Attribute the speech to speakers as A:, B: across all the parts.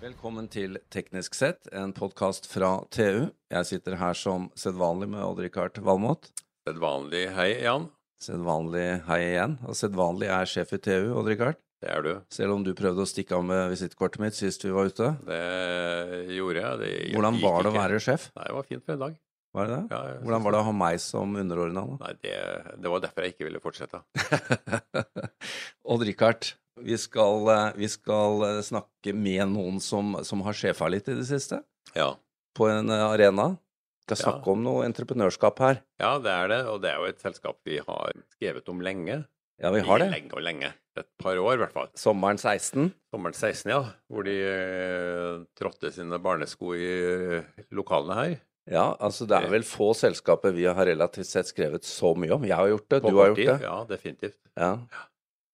A: Velkommen til Teknisk sett, en podkast fra TU. Jeg sitter her som sedvanlig med Odd-Rikard Valmot.
B: Sedvanlig hei, Jan.
A: Sedvanlig hei igjen. Og sedvanlig er sjef i TU, Odd-Rikard.
B: Det er du.
A: Selv om du prøvde å stikke av med visittkortet mitt sist vi var ute.
B: Det gjorde jeg. Det gikk
A: Hvordan var det å
B: ikke.
A: være sjef?
B: Nei, det var fint for en dag.
A: Var det det?
B: Ja, jeg
A: Hvordan
B: synes
A: var det å ha meg som underordna? da?
B: Nei, det, det var derfor jeg ikke ville fortsette.
A: Odd-Rikard, vi, skal, eh, vi skal eh, snakke med noen som, som har sjefa litt i det siste,
B: Ja.
A: på en eh, arena. Vi skal
B: Ja.
A: snakke om noe entreprenørskap her.
B: ja, det er det. Og det er jo et selskap vi har skrevet om lenge.
A: Ja, vi har det.
B: Lenge og lenge. Et par år, i hvert fall.
A: Sommeren 16.
B: Sommeren 16, ja. Hvor de eh, trådte sine barnesko i eh, lokalene her.
A: Ja, altså det er
B: Det-
A: vel få selskaper vi har relativt sett skrevet så mye om. Jeg har gjort det,
B: På
A: du har gjort
B: kort tid.
A: det.
B: Ja, definitivt.
A: Ja.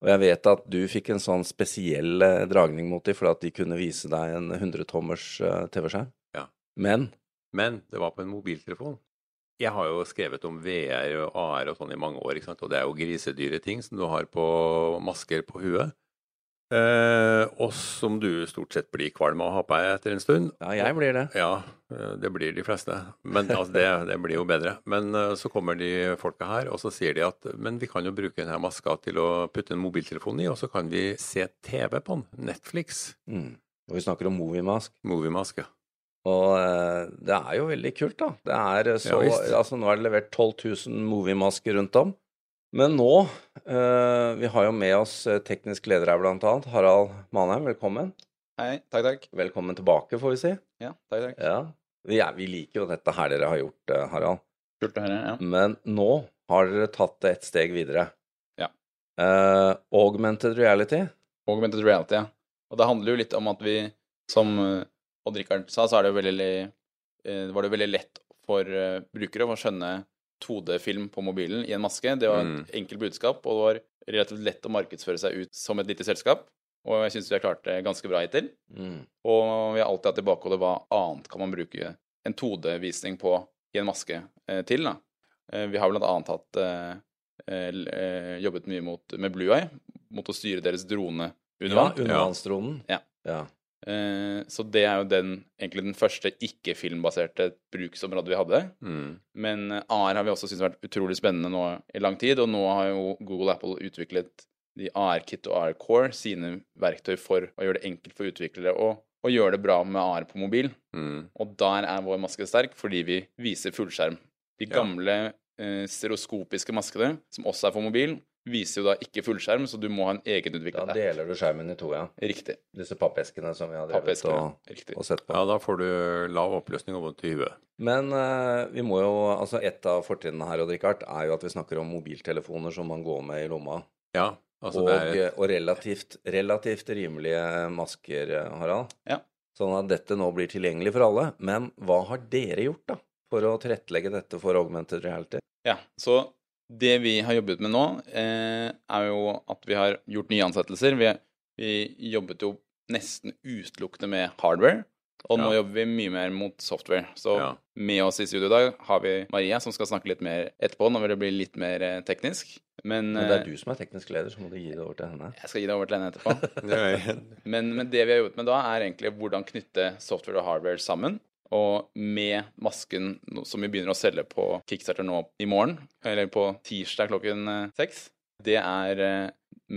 A: Og jeg vet at du fikk en sånn spesiell eh, dragning mot dem, for at de kunne vise deg en 100-tommers eh, TV-skjerm.
B: Ja.
A: Men
B: Men det var på en mobiltelefon. Jeg har jo skrevet om VR og AR og sånn i mange år, ikke sant? og det er jo grisedyre ting som du har på masker på huet. Eh, og som du stort sett blir kvalm av å ha på deg etter en stund.
A: ja, jeg blir det.
B: Ja, eh, det blir de fleste. Men altså, det, det blir jo bedre. Men eh, så kommer de folka her, og så sier de at men vi kan jo bruke denne maska til å putte en mobiltelefon i, og så kan vi se TV på den. Netflix.
A: Mm. Og vi snakker om Movimask.
B: Moviemaske.
A: Og eh, det er jo veldig kult, da. Det er eh, så
B: Ja, visst.
A: Altså, nå er det levert 12 000 moviemasker rundt om. Men nå eh, Vi har jo med oss eh, teknisk leder her, blant annet. Harald Manheim, velkommen.
C: Hei, takk, takk.
A: Velkommen tilbake, får vi si.
C: Ja, takk, takk.
A: Ja. Vi, er, vi liker jo dette her dere har gjort, eh, Harald.
C: Kult å høre. Ja.
A: Men nå har dere tatt det et steg videre.
C: Ja.
A: Eh, augmented reality.
C: Augmented reality, ja. Og det handler jo litt om at vi, som eh, Odd-Rikard sa, så er det jo veldig, eh, var det jo veldig lett for eh, brukere å skjønne 2D-film på mobilen i en maske. Det var
B: Mm.
C: et enkelt budskap, og det var relativt lett å markedsføre seg ut som et lite selskap. Og jeg syns vi har klart det ganske bra hittil.
A: Mm.
C: Og vi har alltid hatt i bakhodet hva annet kan man bruke en 2D-visning på i en maske eh, til. Da. Eh, vi har blant annet hatt eh, l- eh, jobbet mye mot, med Blue Eye, mot å styre deres drone under
A: Ja,
C: vann.
A: undervannsdronen.
C: Ja.
A: Ja.
C: Eh, så det er jo den, egentlig den første ikke-filmbaserte bruksområdet vi hadde.
B: Mm.
C: Men eh, AR har vi også syntes har vært utrolig spennende nå i lang tid, og nå har jo Google og Apple utviklet de AR-kit og AR-core, sine verktøy for å gjøre det enkelt for utviklere og, og gjøre det bra med AR på mobil.
B: Mm.
C: Og der er vår maske sterk, fordi vi viser fullskjerm. De
B: Ja.
C: gamle eh, stereoskopiske maskene, som også er for mobil, viser jo da ikke fullskjerm, så du må ha en
A: Da
C: egenutviklet app.
A: deler du skjermen i to, ja.
C: Riktig.
A: Disse pappeskene som vi har drevet
C: Pappeskene.
A: og,
C: Riktig.
A: og sett på.
B: Ja, da får du lav oppløsning og vondt i huet.
A: Men eh, vi må jo Altså, et av fortrinnene her, Odd Rikard, er jo at vi snakker om mobiltelefoner som man går med i lomma.
B: Ja, altså
A: og, eh,
B: det er
C: eh,
B: et,
A: og relativt, relativt rimelige masker, eh, Harald.
C: Ja.
A: Sånn at dette nå blir tilgjengelig for alle. Men hva har dere gjort da, for å tilrettelegge dette for augmented reality?
C: Ja, så det vi har jobbet med nå, eh, er jo at vi har gjort nye ansettelser. Vi, vi jobbet jo nesten utelukkende med hardware, og nå
B: Ja.
C: jobber vi mye mer mot software. Så
B: Ja.
C: med oss i studio i dag har vi Maria, som skal snakke litt mer etterpå, når det blir litt mer eh, teknisk. Men,
A: Men det er
C: eh,
A: du som er teknisk leder, så må du gi det over til henne.
C: jeg skal gi deg over til henne etterpå.
B: det
C: Men, men det vi har jobbet med da, er egentlig hvordan knytte software og hardware sammen. Og med masken no- som vi begynner å selge på Kickstarter nå i morgen, eller på tirsdag klokken eh, seks, det er eh,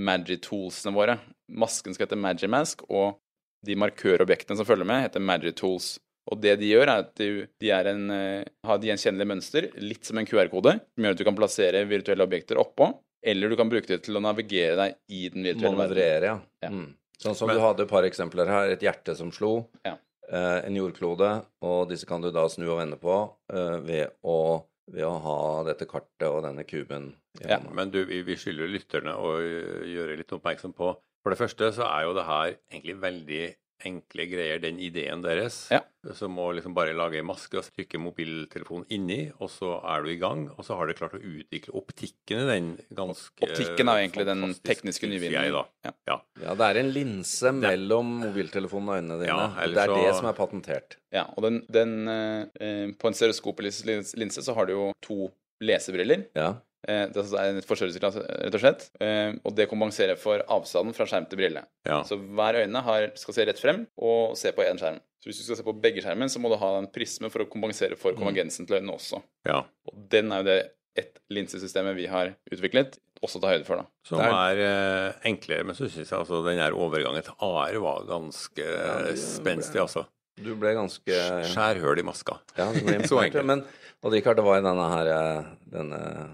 C: Magitoolsene våre. Masken skal hete Magimask, og de markørobjektene som følger med, heter Magitools. Og det de gjør, er at de, de er en, eh, har de gjenkjennelige mønster, litt som en QR-kode, som gjør at du kan plassere virtuelle objekter oppå, eller du kan bruke det til å navigere deg i den virtuelle verden.
A: Manøvrere, ja.
C: Ja.
A: Mm. Sånn som
B: Men-
A: du hadde et par eksempler her. Et hjerte som slo,
C: Ja.
A: eh, en jordklode, og disse kan du da snu og vende på eh, ved, å, ved å ha dette kartet og denne kuben i
C: Ja,
A: hånda.
B: Men du, vi vi skylder lytterne å gjøre litt oppmerksom på For det første så er jo det her egentlig veldig enkle greier, den ideen deres.
C: Ja.
B: Som å liksom bare lage en maske og trykke mobiltelefonen inni, og så er du i gang. Og så har du klart å utvikle optikken i den ganske
C: Optikken er jo egentlig den
B: fantastisk,
C: tekniske
B: synes jeg,
C: nyvinningen.
B: da.
C: Ja.
A: Ja, det er en linse mellom mobiltelefonen og øynene dine.
B: Ja,
A: og
B: ellers
A: det er
B: så-
A: det som er patentert.
C: Ja, og den, den eh, eh, På en stereoskopelinse så har du jo to lesebriller.
A: Ja.
C: Eh, det er en forstørrelsesglass, rett og slett. Eh, og det kompenserer for avstanden fra skjerm til brille.
B: Ja.
C: Så hver øyne har, skal se rett frem og se på én skjerm. Så hvis du skal se på begge skjermen, så må du ha en prisme for å kompensere for
B: Mm.
C: konvergensen til øynene også.
B: ja.
C: Og den er jo det ett linsesystemet vi har utviklet, også ta høyde for, da.
B: Som er eh, enklere, men så syns jeg altså den her overgangen til AR var ganske
A: det-
B: spenstig, altså.
A: Du ble ganske
B: Skjærhull i maska.
A: Ja, du ble
B: Så
A: imponert.
B: enkelt.
A: men og det, det var jo denne her eh, denne eh,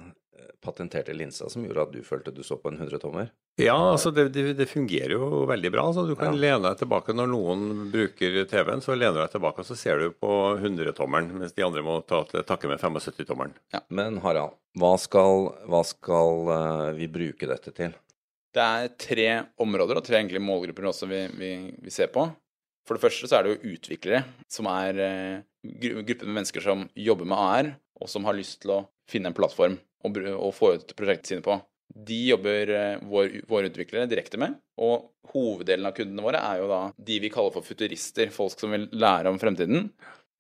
A: patenterte linsa som gjorde at du følte du så på en 100-tommer.
B: Ja, altså det, det, det fungerer jo veldig bra. Altså. Du kan lene deg tilbake når noen bruker TV-en, så lener du deg tilbake og så ser du på 100-tommeren, mens de andre må ta til takke med 75-tommeren.
A: Men Harald, hva skal, hva skal eh, vi bruke dette til?
C: Det er tre områder og tre enkle målgrupper også vi, vi, vi ser på. For det første så er det jo utviklere, som er eh, gru- gruppen med mennesker som jobber med AR, og som har lyst til å finne en plattform å bru- å få ut prosjektene sine på. De jobber eh, vår, våre utviklere direkte med, og hoveddelen av kundene våre er jo da de vi kaller for futurister, folk som vil lære om fremtiden,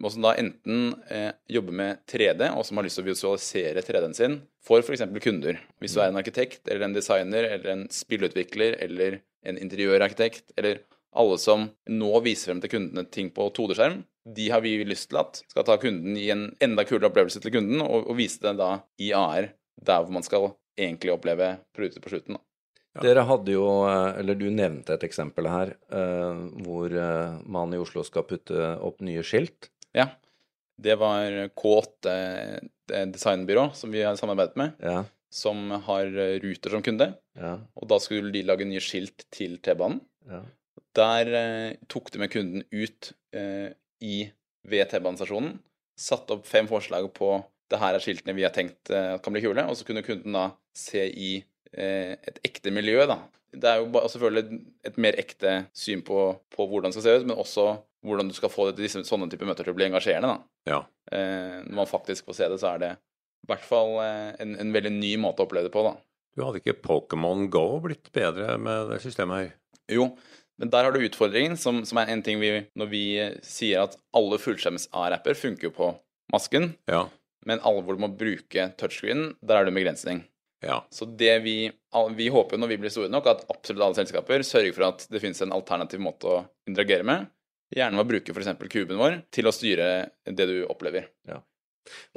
C: og som da enten eh, jobber med 3D, og som har lyst til å visualisere 3D-en sin, for f.eks. kunder. Hvis du er en arkitekt eller en designer eller en spillutvikler eller en interiørarkitekt, eller alle som nå viser frem til kundene ting på 2D-skjerm, de har vi lyst til at skal ta kunden i en enda kulere opplevelse til kunden, og, og vise det da i AR, der hvor man skal egentlig oppleve produktet på slutten. da.
A: Dere hadde jo, eh, eller du nevnte et eksempel her, eh, hvor eh, man i Oslo skal putte opp nye skilt.
C: Ja. Det var K8 designbyrå som vi har samarbeidet med,
A: Ja,
C: som har eh, Ruter som kunde.
A: ja,
C: Og da skulle de lage nye skilt til T-banen.
A: ja.
C: Der eh, tok de med kunden ut eh, i ved T-banestasjonen, satte opp fem forslag på det her er skiltene vi har tenkt eh, kan bli kule, og så kunne kunden da se i eh, et ekte miljø, da. Det er jo ba- selvfølgelig et mer ekte syn på, på hvordan det skal se ut, men også hvordan du skal få det til disse, sånne typer møter til å bli engasjerende, da.
B: Ja.
C: Eh, når man faktisk får se det, så er det i hvert fall eh, en, en veldig ny måte å oppleve det på, da.
B: Du hadde ikke Pokémon Go blitt bedre med det systemet her?
C: Jo, men der har du utfordringen, som, som er en ting vi Når vi eh, sier at alle fullskjermes A-rapper funker jo på masken,
B: Ja.
C: men alle hvor du må bruke touchscreen, der er det en begrensning.
B: Ja.
C: Så det vi, al- vi håper jo når vi blir store nok, at absolutt alle selskaper sørger for at det finnes en alternativ måte å interagere med. Gjerne ved å bruke f.eks. kuben vår til å styre det du opplever.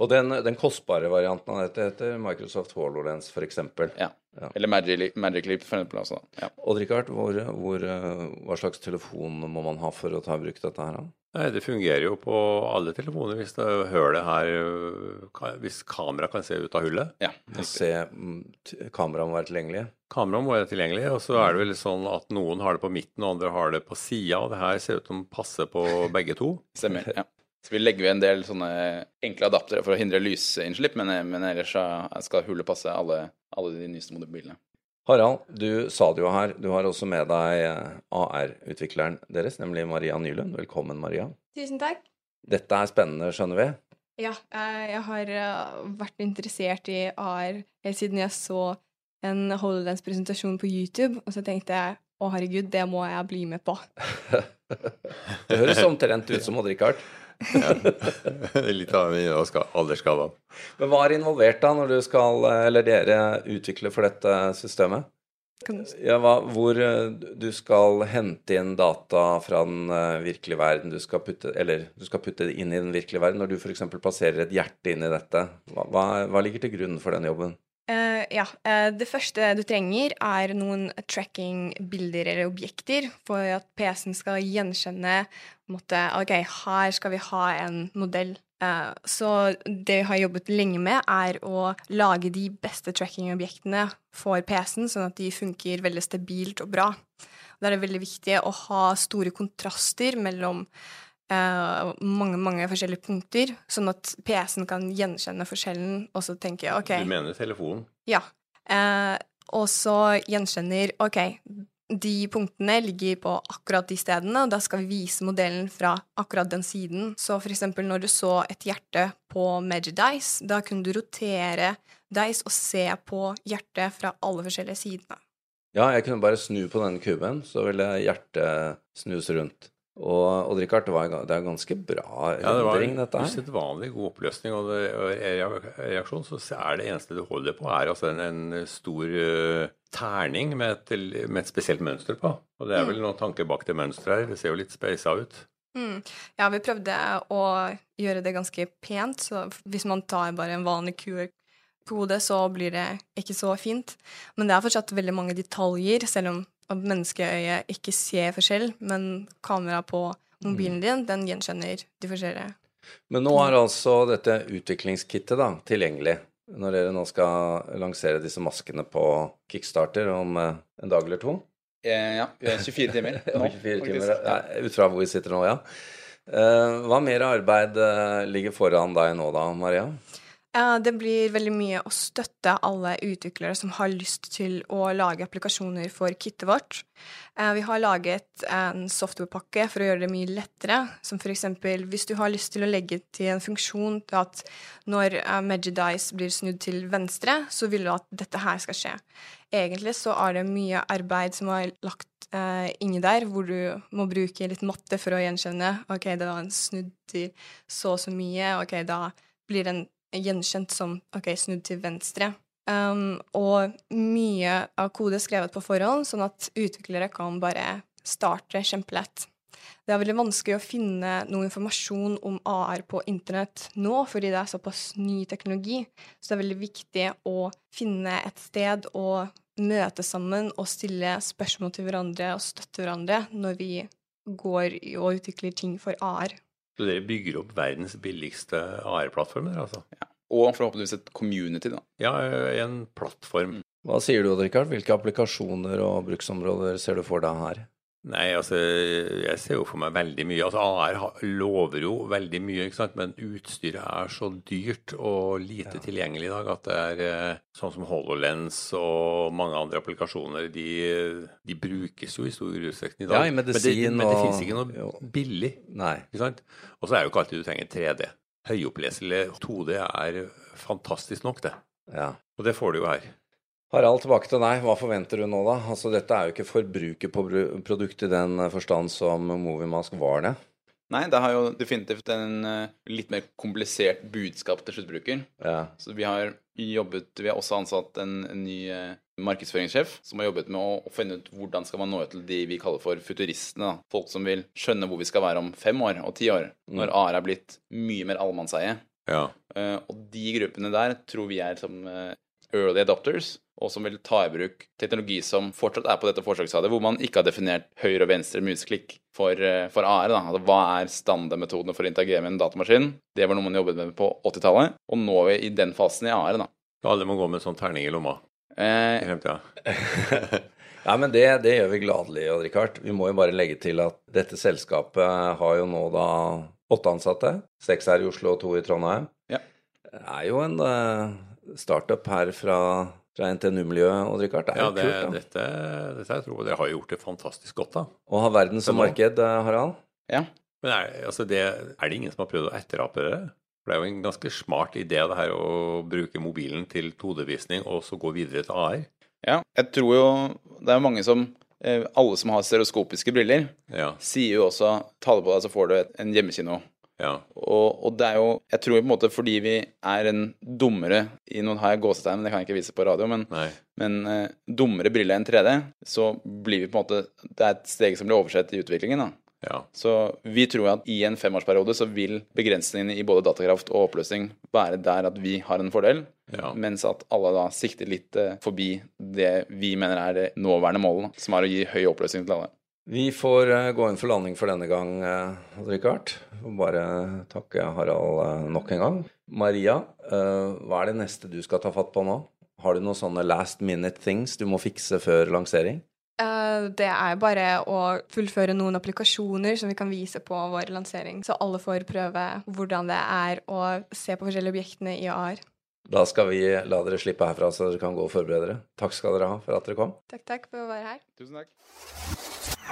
A: Og den, den kostbare varianten av dette heter Microsoft HoloLens, for eksempel.
C: Ja.
A: Ja.
C: Eller Magic, Magic Leap, for eksempel. Også. Ja.
A: Odd-Rikard, hvor, hvor, eh, hva slags telefon må man ha for å ta i bruk dette her? da?
B: Nei, det fungerer jo på alle telefoner hvis det hølet her øh, ka- Hvis kameraet kan se ut av hullet.
C: Ja,
A: Å se mm, t- kameraet må være tilgjengelig?
B: Kameraet må være tilgjengelig, og så er det vel sånn at noen har det på midten, og andre har det på sida, og det her ser ut som passer på begge to.
C: Stemmer. ja. Så vi legger jo en del sånne enkle adaptere for å hindre lysinnslipp, men, eh, men ellers så skal hullet passe alle, alle de nyeste mobilene.
A: Harald, du sa det jo her, du har også med deg eh, AR-utvikleren deres, nemlig Maria Nylund. Velkommen, Maria.
D: Tusen takk.
A: Dette er spennende, skjønner vi.
D: Ja, eh, jeg har eh, vært interessert i AR helt siden jeg så en HoloLens-presentasjon på YouTube, og så tenkte jeg å herregud, det må jeg bli med på.
A: Det høres omtrent ut som Odd-Rikard.
B: Litt av aldersskalaen.
A: Men hva er involvert da, når du skal, eh, eller dere, utvikle for dette systemet?
D: Kan du
A: Ja, hva, hvor eh, du skal hente inn data fra den eh, virkelige verden, du skal putte, eller du skal putte det inn i den virkelige verden. Når du f.eks. plasserer et hjerte inn i dette, hva, hva, hva ligger til grunn for den jobben?
D: Eh, ja. eh, det første du trenger, er noen tracking-bilder eller objekter for at PC-en skal gjenkjenne på en måte, Ok, her skal vi ha en modell. Eh, så det vi har jobbet lenge med, er å lage de beste tracking-objektene for PC-en, sånn at de funker veldig stabilt og bra. Da er det veldig viktig å ha store kontraster mellom eh, mange, mange forskjellige punkter, sånn at PC-en kan gjenkjenne forskjellen og så tenke ok
B: Du mener telefonen?
D: ja. Eh, og så gjenkjenner Ok, de punktene ligger på akkurat de stedene, og da skal vi vise modellen fra akkurat den siden. Så for eksempel når du så et hjerte på Magic Dice, da kunne du rotere Dice og se på hjertet fra alle forskjellige sidene.
A: Ja, jeg kunne bare snu på den kuben, så ville hjertet snus rundt. Og, og Richard, det, var, ga- det er ganske bra
B: Ja, det var
A: rendring,
B: en
A: dette her.
B: usedvanlig god oppløsning. Og det, og re- reaksjon så er det eneste du holder på, er altså en, en stor eh, terning med et, med et spesielt mønster på. Og det er vel noen tanker bak det mønsteret her. Det ser jo litt speisa ut.
D: Mm. Ja, vi prøvde å gjøre det ganske pent, så hvis man tar bare en vanlig QR-kode, så blir det ikke så fint. Men det er fortsatt veldig mange detaljer, selv om at menneskeøyet ikke ser forskjell, men kameraet på mobilen din, den gjenkjenner de forskjellige.
A: Men nå er altså dette utviklingskittet da, tilgjengelig når dere nå skal lansere disse maskene på Kickstarter om eh, en dag eller to.
C: Eh, ja, vi er 24 timer
A: Om
C: nå,
A: 24 timer,
C: faktisk.
A: ja, ut fra hvor vi sitter nå, ja. Eh, hva mer arbeid eh, ligger foran deg nå da, Maria?
D: Ja, det blir veldig mye å støtte alle utviklere som har lyst til å lage applikasjoner for kittet vårt. Eh, Vi har laget en softwarepakke for å gjøre det mye lettere, som f.eks. hvis du har lyst til å legge til en funksjon til at når eh, Magidice blir snudd til venstre, så vil du at dette her skal skje. Egentlig så er det mye arbeid som er lagt eh, inni der, hvor du må bruke litt matte for å gjenkjenne. OK, det var en snudd til så og så mye. OK, da blir den gjenkjent som OK, snudd til venstre. Um, og mye av kode er skrevet på forhånd, sånn at utviklere kan bare starte kjempelett. Det er veldig vanskelig å finne noe informasjon om AR på internett nå, fordi det er såpass ny teknologi. Så det er veldig viktig å finne et sted å møte sammen og stille spørsmål til hverandre og støtte hverandre når vi går i- og utvikler ting for AR.
B: Så dere bygger opp verdens billigste AR-plattformer, altså?
C: Og forhåpentligvis et community, da.
B: Ja, eh, en plattform.
A: Hva sier du, Odd Rikard? Hvilke applikasjoner og bruksområder ser du for deg her?
B: Nei, altså, jeg ser jo for meg veldig mye. Altså, AR ha- lover jo veldig mye, ikke sant? men utstyret er så dyrt og lite tilgjengelig i dag at det er eh, sånn som HoloLens og mange andre applikasjoner, de, de brukes jo i stor utstrekning i dag.
A: Ja, i medisin
B: Men det, men det
A: og-
B: finnes ikke noe
A: jo.
B: billig,
A: Nei.
B: ikke sant? Og så er det jo ikke alltid du trenger 3D. Høyoppleselig 2D er fantastisk nok, det.
A: Ja.
B: Og det får du jo her.
A: Harald, tilbake til deg. Hva forventer du nå, da? Altså, dette er jo ikke forbrukerprodukt i den forstand som Movimask var det.
C: Nei, det har jo definitivt en eh, litt mer komplisert budskap til sluttbruker.
A: Ja.
C: Så vi har jobbet, vi har også ansatt en, en ny eh, markedsføringssjef som har jobbet med å, å finne ut hvordan skal man nå ut til de vi kaller for futuristene. Da. Folk som vil skjønne hvor vi skal være om fem år og ti år, når AR er blitt mye mer allemannseie.
B: Ja.
C: Eh, og de gruppene der tror vi er som eh, early adopters, og som vil ta i bruk teknologi som fortsatt er på dette forsøksstadiet, hvor man ikke har definert høyre og venstre museklikk for, eh, for AR. Da. Altså, hva er standardmetodene for å interagere med en datamaskin? Det var noe man jobbet med på 80-tallet, og nå er vi i den fasen i AR. Da.
B: Alle må gå med en sånn terning i lomma i
C: Eh,
B: fremtida.
A: Ja, men det, det gjør vi gladelig, Odd Rikard. Vi må jo bare legge til at dette selskapet har jo nå da åtte ansatte. Seks her i Oslo og to i Trondheim.
C: Ja.
A: Det er jo en eh, startup her fra, fra NTNU-miljøet, Odd Rikard. Det er
B: Ja,
A: jo
B: det,
A: kult, da.
B: dette, dette jeg tror jeg dere har gjort det fantastisk godt, da.
A: Å ha verden som
B: Det må-
A: marked, eh, Harald.
C: ja.
B: Men er, altså det, er det ingen som har prøvd å etterape det? For det er jo en ganske smart idé det her å bruke mobilen til 2D-visning og så gå videre til AR.
C: ja. Jeg tror jo det er mange som eh, Alle som har stereoskopiske briller,
B: Ja,
C: sier jo også ta det på deg, så får du et- en hjemmekino.
B: ja.
C: Og, og det er jo Jeg tror på en måte fordi vi er en dummere i noen har jeg gåsetegn, men det kan jeg ikke vise på radio, men,
B: Nei.
C: men eh, dummere brille enn 3D, så blir vi på en måte Det er et steg som blir oversett i utviklingen, da.
B: Ja.
C: Så vi tror at i en femårsperiode så vil begrensningene i både datakraft og oppløsning være der at vi har en fordel,
B: Ja.
C: mens at alle da sikter litt eh, forbi det vi mener er det nåværende målet, da, som er å gi høy oppløsning til alle.
A: Vi får eh, gå inn for landing for denne gang, eh, Odd Rikard. Får Bare takke Harald eh, nok en gang. Maria, eh, hva er det neste du skal ta fatt på nå? Har du noen sånne last minute things du må fikse før lansering?
D: Eh, Det er bare å fullføre noen applikasjoner som vi kan vise på vår lansering, så alle får prøve hvordan det er å se på forskjellige objektene i AR.
A: Da skal vi la dere slippe herfra, så dere kan gå og forberede dere. Takk skal dere ha for at dere kom.
D: Takk, takk for å være her.
C: Tusen takk.